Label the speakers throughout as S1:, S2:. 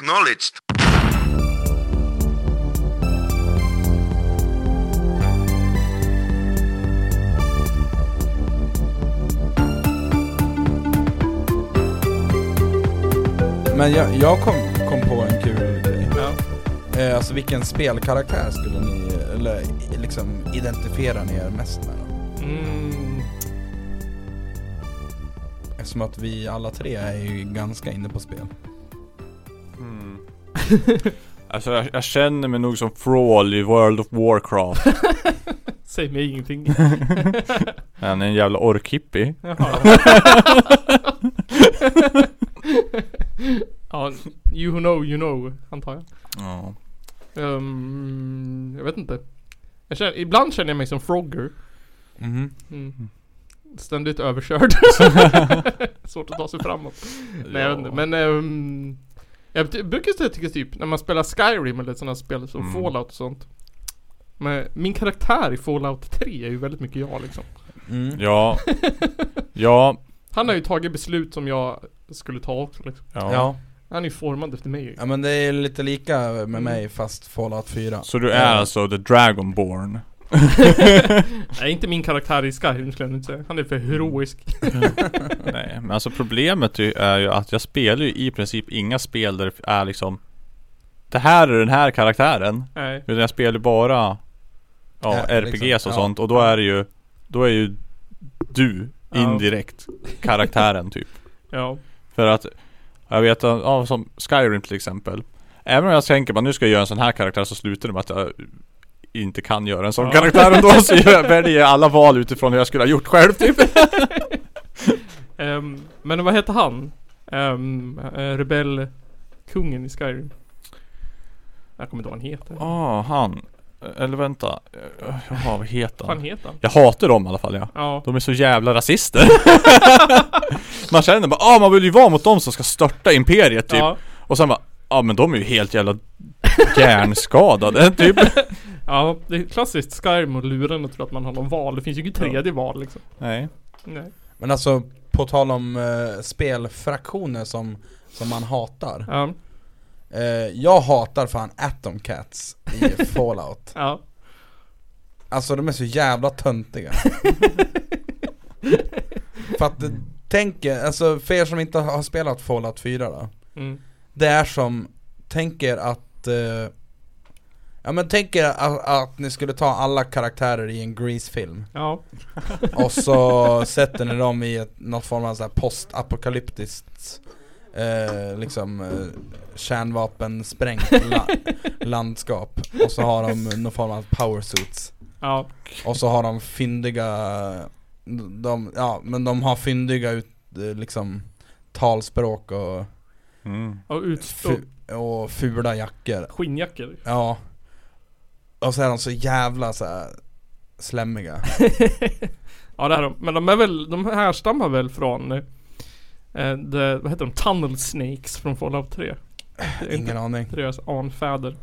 S1: Acknowledged.
S2: Men jag, jag kom, kom på en kul grej.
S3: Ja.
S2: Eh, alltså vilken spelkaraktär skulle ni, eller liksom identifiera ni er mest med då?
S3: Mm.
S2: Eftersom att vi alla tre är ju ganska inne på spel.
S4: Mm. alltså jag, jag känner mig nog som Frawl i World of Warcraft.
S3: Säg mig ingenting.
S4: Han är en jävla orkhippie.
S3: Jaha. ja, you know, you know, antar jag.
S4: Ja.
S3: Ehm, jag vet inte. Jag känner, ibland känner jag mig som Frogger.
S2: Mhm.
S3: Mm. Ständigt överkörd. Svårt att ta sig framåt. Nej, jag vet inte. Men ehm, jag ty- brukar tycka typ när man spelar Skyrim eller sådana spel som
S4: Mm.
S3: Fallout och sånt. Men min karaktär i Fallout 3 är ju väldigt mycket jag liksom.
S2: Mm.
S4: Ja. Ja.
S3: Han har ju tagit beslut som jag skulle ta också liksom.
S4: Ja.
S2: Ja.
S3: Han är ju formad efter mig.
S2: ja, men det är lite lika med mig fast Fallout Eh, 4.
S4: Så du är
S2: Ja.
S4: alltså the Dragonborn?
S3: Nej, inte min karaktär i Skyrim skulle jag inte säga. Han är för heroisk.
S4: Nej, men alltså problemet ju- är ju att jag spelar ju i princip inga spel där det är liksom Det här är den här karaktären
S3: Nej.
S4: Utan jag spelar ju bara Ja,
S2: Ja,
S4: RPGs
S2: liksom,
S4: och
S2: ja.
S4: sånt och då är det ju Då är ju du
S3: Ja.
S4: indirekt karaktären typ
S3: Ja.
S4: För att Jag vet att, ja, som Skyrim till exempel Även om jag tänker bara nu ska jag göra en sån här karaktär så slutar det med att jag inte kan göra en sån
S3: Ja.
S4: karaktär ändå så jag väljer alla val utifrån hur jag skulle ha gjort själv typ
S3: Ehm, men vad heter han? Um, Rebellkungen i Skyrim. Jag kommer inte ihåg vad han heter. Vad
S4: Ah, han. Eller vänta. Eh, Jaha, vad heter
S3: fan
S4: han?
S3: heter han?
S4: Jag hatar dem i alla fall ja.
S3: Ja.
S4: De är så jävla rasister. man känner bara, ah man vill ju vara mot dem som ska störta imperiet typ.
S3: Ja.
S4: Och sen bara, ah men de är ju helt jävla hjärnskadade typ.
S3: ja, det är klassiskt Skyrim och luren och tro att man har någon val. Det finns ju inget
S4: Ja.
S3: tredje val liksom.
S4: Nej.
S3: Nej.
S2: Men alltså, på tal om eh, spelfraktioner som, som man hatar.
S3: Ja.
S2: Eh, jag hatar fan Atom Cats i Fallout.
S3: Ja.
S2: Alltså de är så jävla töntiga. För att eh, tänk er, alltså för er som inte har spelat Fallout 4 då.
S3: Mm.
S2: Det är som, tänk er att eh, Ja men tänk er att, att ni skulle ta alla karaktärer i en Grease-film
S3: Ja.
S2: och så sätter ni dem i ett, något form av så här postapokalyptiskt eh, liksom eh, kärnvapensprängt la- landskap och så har de någon form av powersuits
S3: Ja.
S2: och så har de fyndiga de, ja men de har fyndiga ut, eh, liksom talspråk och,
S4: Mm.
S3: Och ut... Och
S2: fu- och fula jackor
S3: skinnjackor.
S2: Ja Och så är de så jävla så här slämmiga
S3: Ja det är de. Men de är väl, de härstammar väl från eh, det, vad heter de? Tunnel Snakes från Fallout 3. Det är
S2: Ingen
S3: inte
S2: aning
S3: deras anfäder.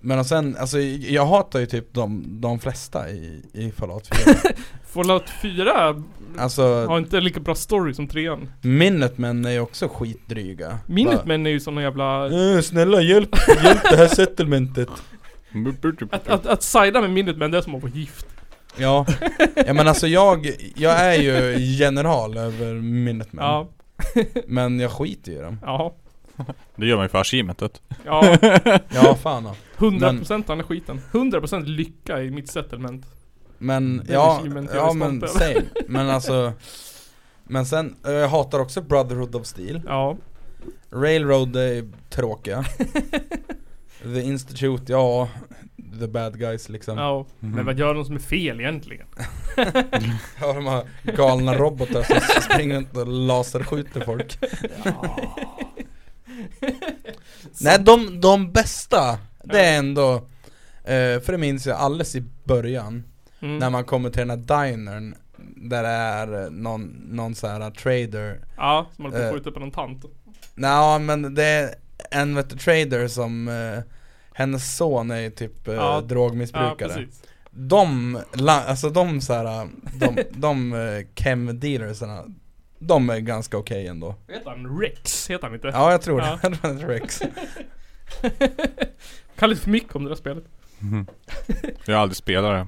S2: Men och sen, alltså jag hatar ju typ de, de flesta i, i Fallout 4
S3: Fallout 4
S2: Alltså
S3: har inte lika bra story som 3
S2: Minutemen är ju också skitdryga
S3: Minnet men är ju såna jävla...
S2: Bara, "Eh, Snälla hjälp, hjälp det här settlementet
S3: Att, att, att sida med Minnet men det är som att vara gift.
S2: Ja, ja men alltså jag, jag är ju general över Minutemen
S3: Ja,
S2: Men jag skiter ju i dem
S3: ja,
S4: Det gör man ju för achievementet.
S3: ja.
S2: Ja fan ja.
S3: 100% den här skiten. 100% lycka i mitt settlement.
S2: Men
S3: Det är
S2: ja,
S3: achievement jag
S2: ja
S3: är
S2: men
S3: stolt
S2: same Men alltså Men sen, eh, jag hatar också Brotherhood of Steel
S3: Ja,
S2: Railroad är tråkiga The Institute, ja The bad guys liksom ja.
S3: ja. Men vad gör de som är fel egentligen?
S2: De här galna robotar som springer runt och laserskjuter folk Nej de, de bästa, det är ändå eh, För det minns jag alldeles i början
S3: Mm.
S2: När man kommer till den här dinern Där det är någon, någon så här trader
S3: Ja, som håller på
S2: Eh.
S3: att skjuta på någon tant.
S2: Nej men det är en vet, du, trader som eh, Hennes son är ju typ eh,
S3: Ja. Ja,
S2: drogmissbrukare
S3: precis.
S2: De, la, alltså de såhär, de, de eh, chem dealersarna de är ganska okej ändå.
S3: Heter han Rex? Heter han inte?
S2: Ja, jag tror
S3: Ja.
S2: det. det. var ett Rex.
S3: Kan lite för mycket om det där spelet.
S4: Mhm. Jag har aldrig spelat det.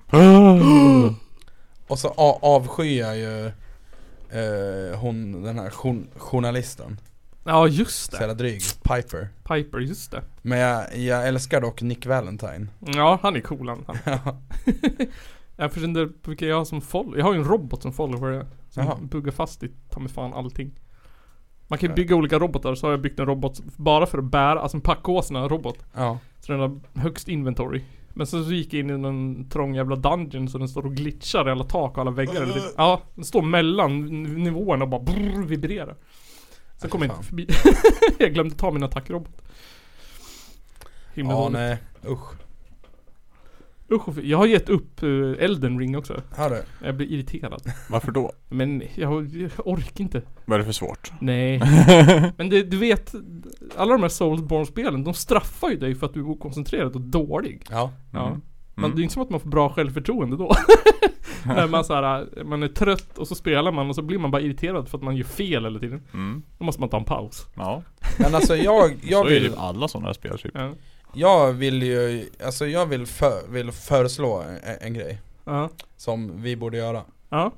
S2: Och så a- avskyr jag ju eh, hon, den här journ- journalisten.
S3: Ja,
S2: Så
S3: just det.
S2: jävla dryg. Piper.
S3: Piper, just det.
S2: Men jag, jag älskar dock Nick Valentine.
S3: Ja, han är cool han. han. jag förstår inte på vilka jag har som follower. Jag har ju en robot som follower. eh, Som
S2: Jaha.
S3: buggar fast i ta mig fan allting. Man kan ju
S2: Ja.
S3: bygga olika robotar, så har jag byggt en robot bara för att bära, alltså en packåsna-robot.
S2: Ja.
S3: Så den har högst inventory. Men sen så gick jag in i någon trång jävla dungeon så den står och glitchar i alla tak och alla väggar. eller typ. Ja, den står mellan niv- nivåerna och bara brrr, vibrerar. Sen
S2: Aj,
S3: kom jag
S2: fan.
S3: inte förbi. jag glömde ta min attackrobot. Himla
S2: Ja,
S3: dåligt.
S2: nej. Usch.
S3: Usch, och fy. jag har gett upp eh, Elden ring också.
S2: Hör du?
S3: Jag blir irriterad.
S4: Varför då?
S3: Men jag, jag orkar inte.
S4: Vad är det för svårt?
S3: Nej. Men det, du vet, alla de här Soulsborne-spelen, de straffar ju dig för att du är okoncentrerad och dålig.
S2: Ja.
S3: Ja.
S4: Mm.
S3: Men det är inte som att man får bra självförtroende då. När man så här, eh, man är trött och så spelar man och så blir man bara irriterad för att man gör fel hela tiden.
S4: Mm.
S3: Då måste man ta en paus.
S4: Ja.
S2: Men alltså jag, jag
S4: så är det
S2: vill...
S4: ju alla sådana här spel typ.
S3: Ja.
S2: Jag vill ju, alltså jag vill, för, vill föreslå en, en grej
S3: Ja.
S2: som vi borde göra.
S3: Ja.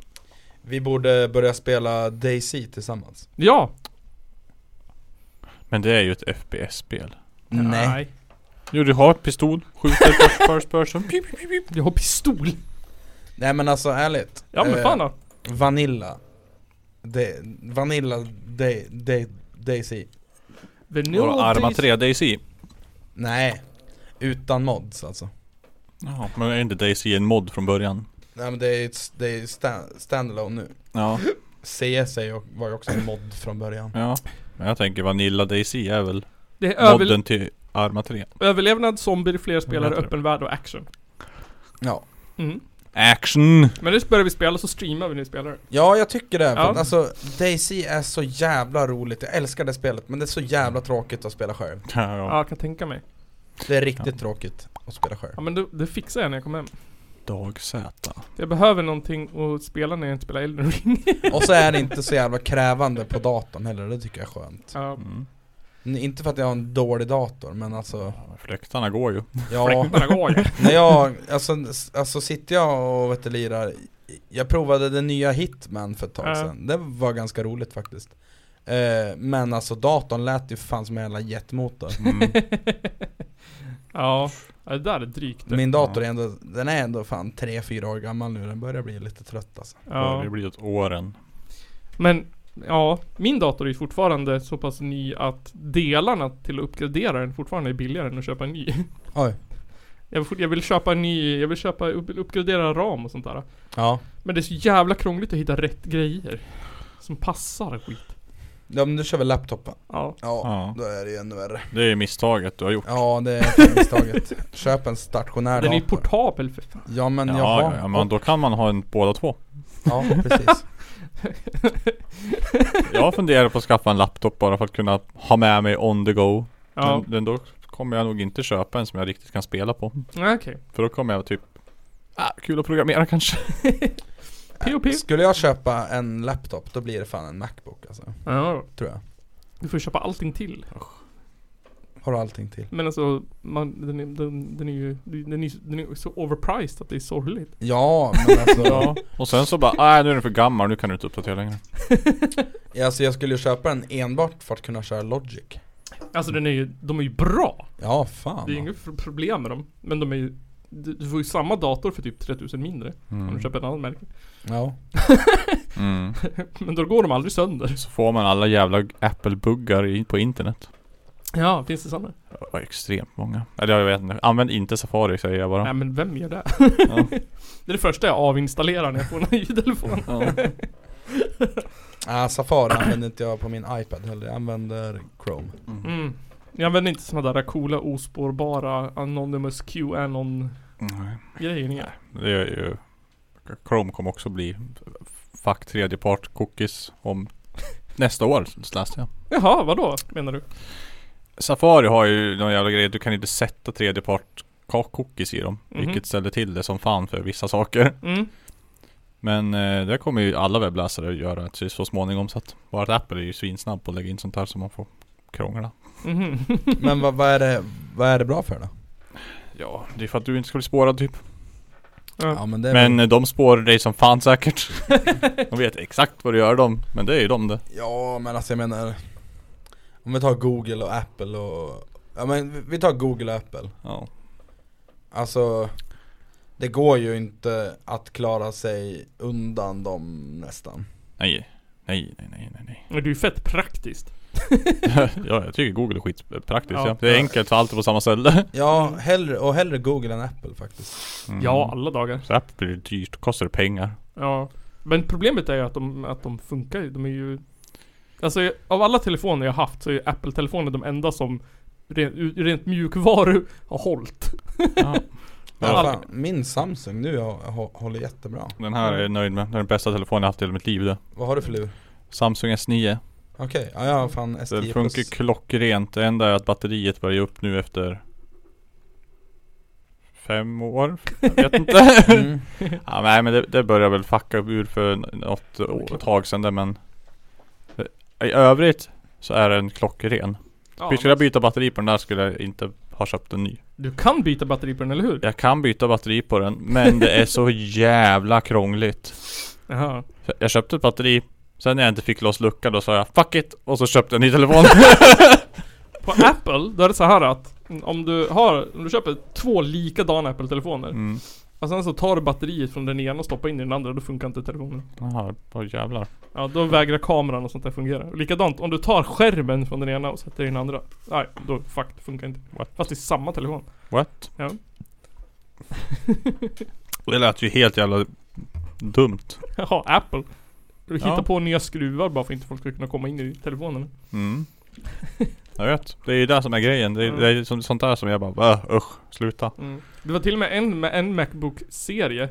S2: Vi borde börja spela DayZ tillsammans.
S3: ja.
S4: Men det är ju ett FPS-spel.
S3: Nej.
S4: Jo du har pistol, skjuter first, first person. Pip, pip, pip.
S3: Jag har pistol.
S2: Nej men alltså ärligt.
S3: Ja men
S2: Eh,
S3: fan då.
S2: Vanilla. De, vanilla Day- Day- DayZ.
S3: Vanilla
S4: Och Arma
S3: Days-
S4: 3 DayZ.
S2: Nej. Utan mods alltså.
S4: Ja, men är inte DayZ en mod från början?
S2: Nej men det är, ett- det är sta- standalone nu.
S4: Ja.
S2: CS är ju, var ju också en mod från början.
S4: Ja. Men jag tänker Vanilla DayZ är väl
S3: Det är över,
S4: modden till Arma 3.
S3: överlevnad, zombier, fler spelare,
S4: heter det?
S3: öppen värld och action.
S2: Ja.
S3: Mm.
S4: Action!
S3: Men nu börjar vi spela så streamar vi när vi spelar.
S2: Ja jag tycker det, för
S3: Ja.
S2: att alltså DayZ är så jävla roligt, jag älskar det spelet men det är så jävla tråkigt att spela själv
S4: Ja,
S3: Ja,
S4: ja.
S3: jag kan tänka mig.
S2: Det är riktigt tråkigt att spela själv
S3: Ja men det, det fixar jag när jag kommer hem.
S4: Dag Z.
S3: Jag behöver någonting att spela när jag inte spelar Elden Ring.
S2: Och så är det inte så jävla krävande på datorn heller, det tycker jag är skönt
S3: ja.
S4: Mm.
S2: N- Inte för att jag har en dålig dator men alltså,
S4: Fläktarna går ju.
S2: ja
S3: Fläktarna går ju.
S2: När jag, alltså, s- alltså sitter jag och vet du, lirar Jag provade den nya Hitman för ett tag
S3: Ja.
S2: sedan, det var ganska roligt faktiskt Eh, Men alltså datorn lät ju fan som en jävla jetmotor
S4: Mm.
S3: Ja, ja, det där är drygt. det.
S2: Min dator är ändå, den är ändå fan 3-4 år gammal nu, den börjar bli lite trött alltså.
S3: ja.
S4: Det blir åt åren.
S3: Men ja, min dator är ju fortfarande så pass ny att delarna till att uppgradera den fortfarande är billigare än att köpa en ny.
S2: Oj.
S3: Jag vill, fort- jag vill köpa en ny, jag vill köpa, upp- uppgradera ram och sånt där.
S2: Ja.
S3: Men det är så jävla krångligt att hitta rätt grejer. Som passar och skit.
S2: ja men du kör väl laptop va?
S3: Ja.
S2: Ja.
S4: Ja.
S2: Då är det ju ännu värre.
S4: Det är misstaget du har gjort.
S2: Ja det är misstaget. Köp en stationär
S3: Den är ju
S2: dator.
S3: portabel för fan.
S2: Ja men
S4: Ja,
S2: jaha.
S4: ja, ja, men då kan man ha en båda två.
S2: Ja, precis.
S4: Jag funderar på att skaffa en laptop bara för att kunna ha med mig on the go.
S3: Ja,
S4: Men, men då kommer jag nog inte köpa en som jag riktigt kan spela på.
S3: Nej, okej.
S4: För då kommer jag typ Ah, kul att programmera kanske.
S3: POP.
S2: Skulle jag köpa en laptop då blir det fan en Macbook alltså.
S3: Ja,
S2: Tror jag.
S3: du får köpa allting till.
S2: Har du allting till.
S3: Men alltså, man, den, är, den, den är ju, den är, den är så overpriced att det är sorgligt.
S2: Ja men alltså.
S4: Ja. Och sen så bara, nej nu är den för gammal, nu kan du inte uppdatera längre.
S2: ja. alltså jag skulle ju köpa den enbart för att kunna köra Logic.
S3: Alltså den är ju, de är ju bra.
S2: Ja fan.
S3: Det är inget pro- problem med dem. Men de är ju, du du får ju samma dator för typ 3000 mindre. Om du
S4: Mm.
S3: köper en annan märke.
S2: Ja.
S4: Mm.
S3: Men då går de aldrig sönder.
S4: Så får man alla jävla Apple-buggar i- på internet.
S3: Ja, finns det sådana?
S4: Det var extremt många. Eller jag vet inte, använd inte Safari säger jag bara.
S3: Nej men vem gör det?
S4: Ja.
S3: Det är det första jag avinstallerar när jag får en ny telefon.
S4: Ja. Mm.
S2: Ah, Safari använder inte jag på min iPad heller, jag använder Chrome.
S4: Mm.
S3: Mm. Jag använder inte sådana där coola ospårbara Anonymous QAnon
S4: Nej.
S3: grejer. Nej.
S4: Det är ju Chrome kommer också bli Fuck tredjepart cookies om nästa år, så läste jag.
S3: Jaha, vadå menar du?
S4: Safari har ju någon jävla grej, du kan inte sätta tredjepart ka- cookies i dem.
S3: Mhm.
S4: Vilket ställer till det som fan för vissa saker.
S3: Mm.
S4: Men eh, det kommer ju alla webbläsare att göra till så småningom så att Bara att Apple är ju svinsnabb på att lägga in sånt här så man får krångla
S3: Mhm.
S2: Men vad, vad, är det, vad är det bra för då?
S4: Ja, det är för att du inte ska bli spårad typ
S3: Ja.
S2: men det är
S4: Men
S2: väl-
S4: eh, de spårar dig som fan säkert De vet exakt vad du gör dem Men det är ju de det
S2: Ja men alltså jag menar Om vi tar Google och Apple och Ja men vi- vi tar Google och Apple
S4: Ja
S2: Alltså Det går ju inte att klara sig undan dem nästan
S4: Nej Nej nej nej nej, nej.
S3: Men Det är ju fett praktiskt.
S4: ja, jag tycker Google är skitpraktiskt
S3: Ja.
S4: ja. Det är enkelt för allt är på samma ställe
S2: Ja, hellre, och hellre Google än Apple faktiskt
S4: Mm.
S3: Ja, alla dagar.
S4: Så Apple blir dyrt, kostar det pengar
S3: Ja. Men problemet är ju att de, att de funkar ju. De är ju... Alltså jag- av alla telefoner jag haft så är ju Apple-telefoner de enda som rent, ur- rent mjukvaru har hållit.
S4: ja.
S2: Men
S3: Ja.
S2: fan, min Samsung nu har- har- håller jättebra
S4: Den här är jag nöjd med, det är den bästa telefonen jag haft i hela mitt liv det
S2: Vad har du för lur?
S4: Samsung S9
S2: Okej, ja jag har fan S10
S4: Den funkar
S2: plus.
S4: klockrent, det enda är att batteriet börjar ge upp nu efter Fem år? Jag vet inte
S2: Mm.
S4: ja, Nej men det, det börjar väl fucka ur för något år, ett tag sedan där, men I övrigt så är den klockren
S3: Ja,
S4: Vi skulle jag byta batteri på den där skulle jag inte ha köpt en ny
S3: Du kan byta batteri på den, eller hur?
S4: Jag kan byta batteri på den men det är så jävla krångligt
S3: Jaha.
S4: Så Jag köpte ett batteri Sen när jag inte fick loss luckan då sa jag 'fuck it' och så köpte jag en ny telefon
S3: På Apple, då är det så här att om du har, om du köper två likadana Apple-telefoner
S4: mm.
S3: och sen så tar du batteriet från den ena och stoppar in i den andra, då funkar inte telefonen.
S4: Jaha, åh jävlar
S3: Ja, då vägrar kameran och sånt där fungera. Och likadant, om du tar skärmen från den ena och sätter i den andra. Nej, då fuck, det funkar inte.
S4: What?
S3: Fast det är samma telefon.
S4: What?
S3: Ja.
S4: Det lät ju helt jävla dumt
S3: Jaha, Apple. Du hittar
S4: Ja.
S3: på nya skruvar bara för att inte folk ska kunna komma in i telefonen.
S4: mm. Jag vet, det är ju det som är grejen Det är, det är som- sånt där som jag bara "Bah, usch, sluta
S3: Det var till och med en, med en Macbook-serie.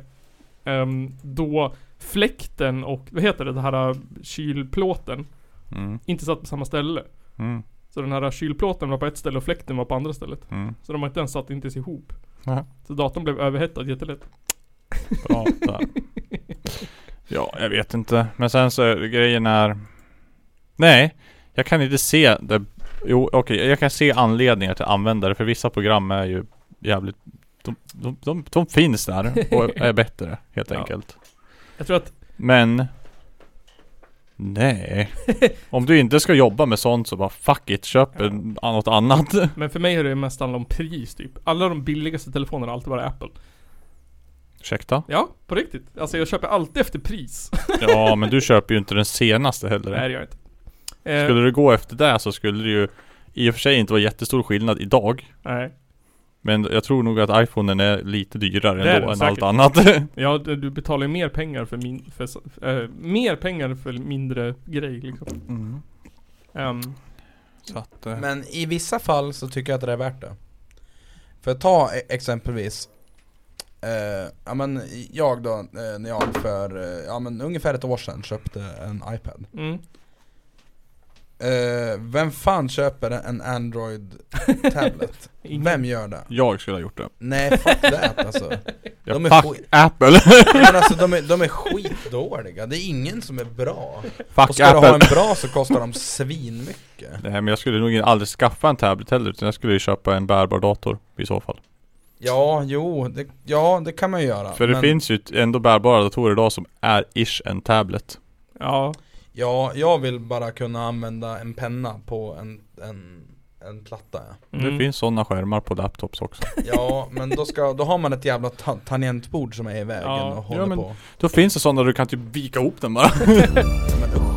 S3: ehm, då fläkten och, vad heter det, den här eh, kylplåten
S4: mm.
S3: inte satt på samma ställe.
S4: Mm.
S3: Så den här kylplåten var på ett ställe och fläkten var på andra stället.
S4: Mm.
S3: Så de har inte ens satt inte ens ihop.
S4: Nähä.
S3: Så datorn blev överhettad jättelätt.
S4: Bra där. Ja, jag vet inte. Men sen så är grejen är... Nej, jag kan inte se det. Jo, okej, jag kan se anledningar till användare för vissa program är ju jävligt... De, de, de, de finns där och är bättre helt
S3: Ja.
S4: enkelt.
S3: Jag tror att
S4: Men... Nej. Om du inte ska jobba med sånt så bara fuck it, köp
S3: Ja.
S4: en- något annat.
S3: Men för mig har det mest handlat om pris typ. Alla de billigaste telefonerna har alltid varit Apple.
S4: Ursäkta?
S3: Ja, på riktigt. Alltså jag köper alltid efter pris.
S4: Ja, men du köper ju inte den senaste heller.
S3: Nej det gör jag inte. Eh,
S4: Skulle du gå efter det så skulle det ju i och för sig inte vara jättestor skillnad idag.
S3: Nej.
S4: Men jag tror nog att iPhonen är lite dyrare
S3: Det är
S4: ändå
S3: den
S4: än
S3: säkert.
S4: allt annat.
S3: Ja, du du betalar ju mer pengar för min... För, s- eh, mer pengar för mindre grej liksom. Ehm,
S4: Så att,
S3: eh,
S4: men,
S2: Mm. Men i vissa fall så tycker jag att det är värt det För att ta e- exempelvis eh, Ja men jag då, eh, när jag för eh, ja, men ungefär ett år sedan köpte en iPad
S3: mm.
S2: eh, Vem fan köper en Android tablet?
S3: Ingen.
S2: Vem gör det?
S4: jag skulle ha gjort det.
S2: Nej fuck that alltså
S4: Jag
S2: De är
S4: fuck
S2: skit-
S4: Apple!
S2: Men alltså de är, de är skitdåliga, det är ingen som är bra Och
S4: fuck
S2: ska du ha
S4: Apple!
S2: en bra så kostar de svinmycket
S4: Nej men jag skulle nog aldrig skaffa en tablet heller utan jag skulle ju köpa en bärbar dator i så fall.
S2: Ja, jo, det, ja det kan man ju göra
S4: För det
S2: men-
S4: finns ju ett- ändå bärbara datorer idag som är ish en tablet.
S3: Ja.
S2: Ja, jag vill bara kunna använda en penna på en, en, en platta ja.
S4: Det
S3: Mm.
S4: finns sådana skärmar på laptops också.
S2: ja, men då, ska, då har man ett jävla ta- tangentbord som är i vägen
S3: Ja,
S2: och
S4: ja,
S2: håller
S4: men-
S2: på
S4: Då finns det sådana där du kan typ vika ihop den bara.
S2: ja, men, usch.